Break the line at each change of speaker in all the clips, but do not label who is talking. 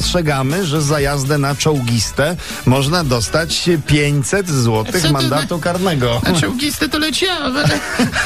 ostrzegamy, że za jazdę na czołgistę można dostać 500
Co
zł
ty-
mandatu karnego.
Na czołgistę to leciałem, ale,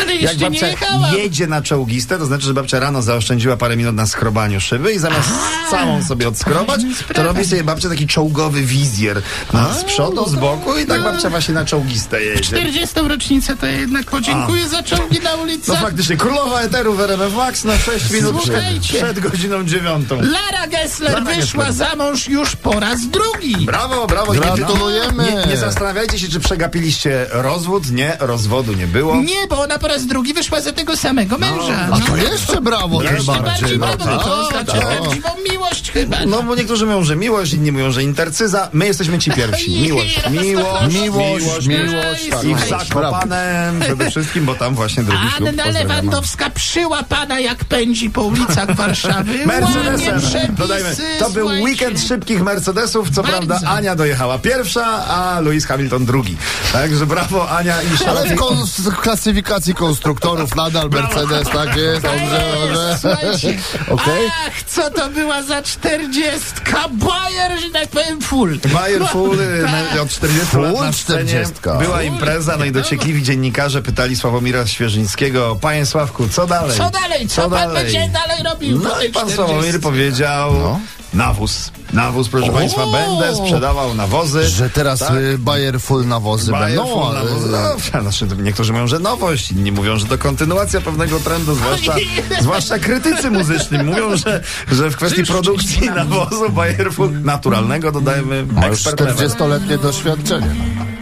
ale
Jak
jeszcze nie
babcia
jechałam.
jedzie na czołgistę, to znaczy, że babcia rano zaoszczędziła parę minut na skrobaniu szyby i zamiast całą sobie odskrobać, to robi sobie babcia taki czołgowy wizjer. No, z przodu, z boku i
no.
tak babcia właśnie na czołgistę jedzie.
40. rocznicę to jednak podziękuję za czołgi na
No
ulicach.
faktycznie, królowa eteru w RMF Max na 6 minut przed,
Słuchajcie.
przed godziną dziewiątą.
Lara Gessler
Lara
wyszła
Gessler.
za mąż już po raz drugi.
Brawo, brawo, nie,
Gratulujemy.
Nie, nie zastanawiajcie się, czy przegapiliście rozwód. Nie, rozwodu nie było.
Nie, bo ona po raz drugi wyszła za tego
No.
samego męża.
A to jeszcze brawo,
Jeszcze
tym
Bardziej
bardziej.
brawo,
no
to
tak,
oznacza
tak.
prawdziwą miłość chyba.
No bo niektórzy mówią, że miłość, inni mówią, że intercyza. My jesteśmy ci pierwsi. Miłość, miłość,
Miłość,
miłość,
miłość, tak.
I w
Słuchajcie.
Zakopanem przede wszystkim, bo tam właśnie drugi ślub.
Anna
Pozdrawiamy.
Lewandowska przyła pana jak pędzi po ulicach Warszawy. Łamie przepisy,
Mercedesem, dodajmy. To był
słuchajcie.
weekend szybkich Mercedesów. Co
Bardzo.
prawda Ania dojechała pierwsza, a Lewis Hamilton drugi. Także brawo Ania i
Ale
szalony
w kons- w klasyfikacji konstruktorów nadal Mercedes, tak jest, dobrze, dobrze.
Słuchajcie,
Okej.
Ach, co to była za czterdziestka? Bayer, że tak powiem, full.
Bayer Full y,
Tak.
na- od 40 lat
Full
na scenie.
40.
Była impreza, no i dociekliwi dziennikarze pytali Sławomira Świeżyńskiego, panie Sławku, co dalej?
Co dalej? Co, pan będzie dalej robił? po
No
tej
i pan
40?
Sławomir powiedział,
No.
nawóz, nawóz, proszę
O!
państwa, będę sprzedawał nawozy.
Że teraz
Tak.
y, Bayer full nawozy
Bayer
będą,
Full
ale... y,
nawozy. No, znaczy, niektórzy mówią, że nowość, inni mówią, że to kontynuacja pewnego trendu, zwłaszcza, zwłaszcza krytycy muzyczni mówią, że, że w kwestii
Czyż
produkcji
czyż nam-
nawozu Bayer Full naturalnego dodajemy
Ma już
ekspertem.
40-letnie doświadczenie.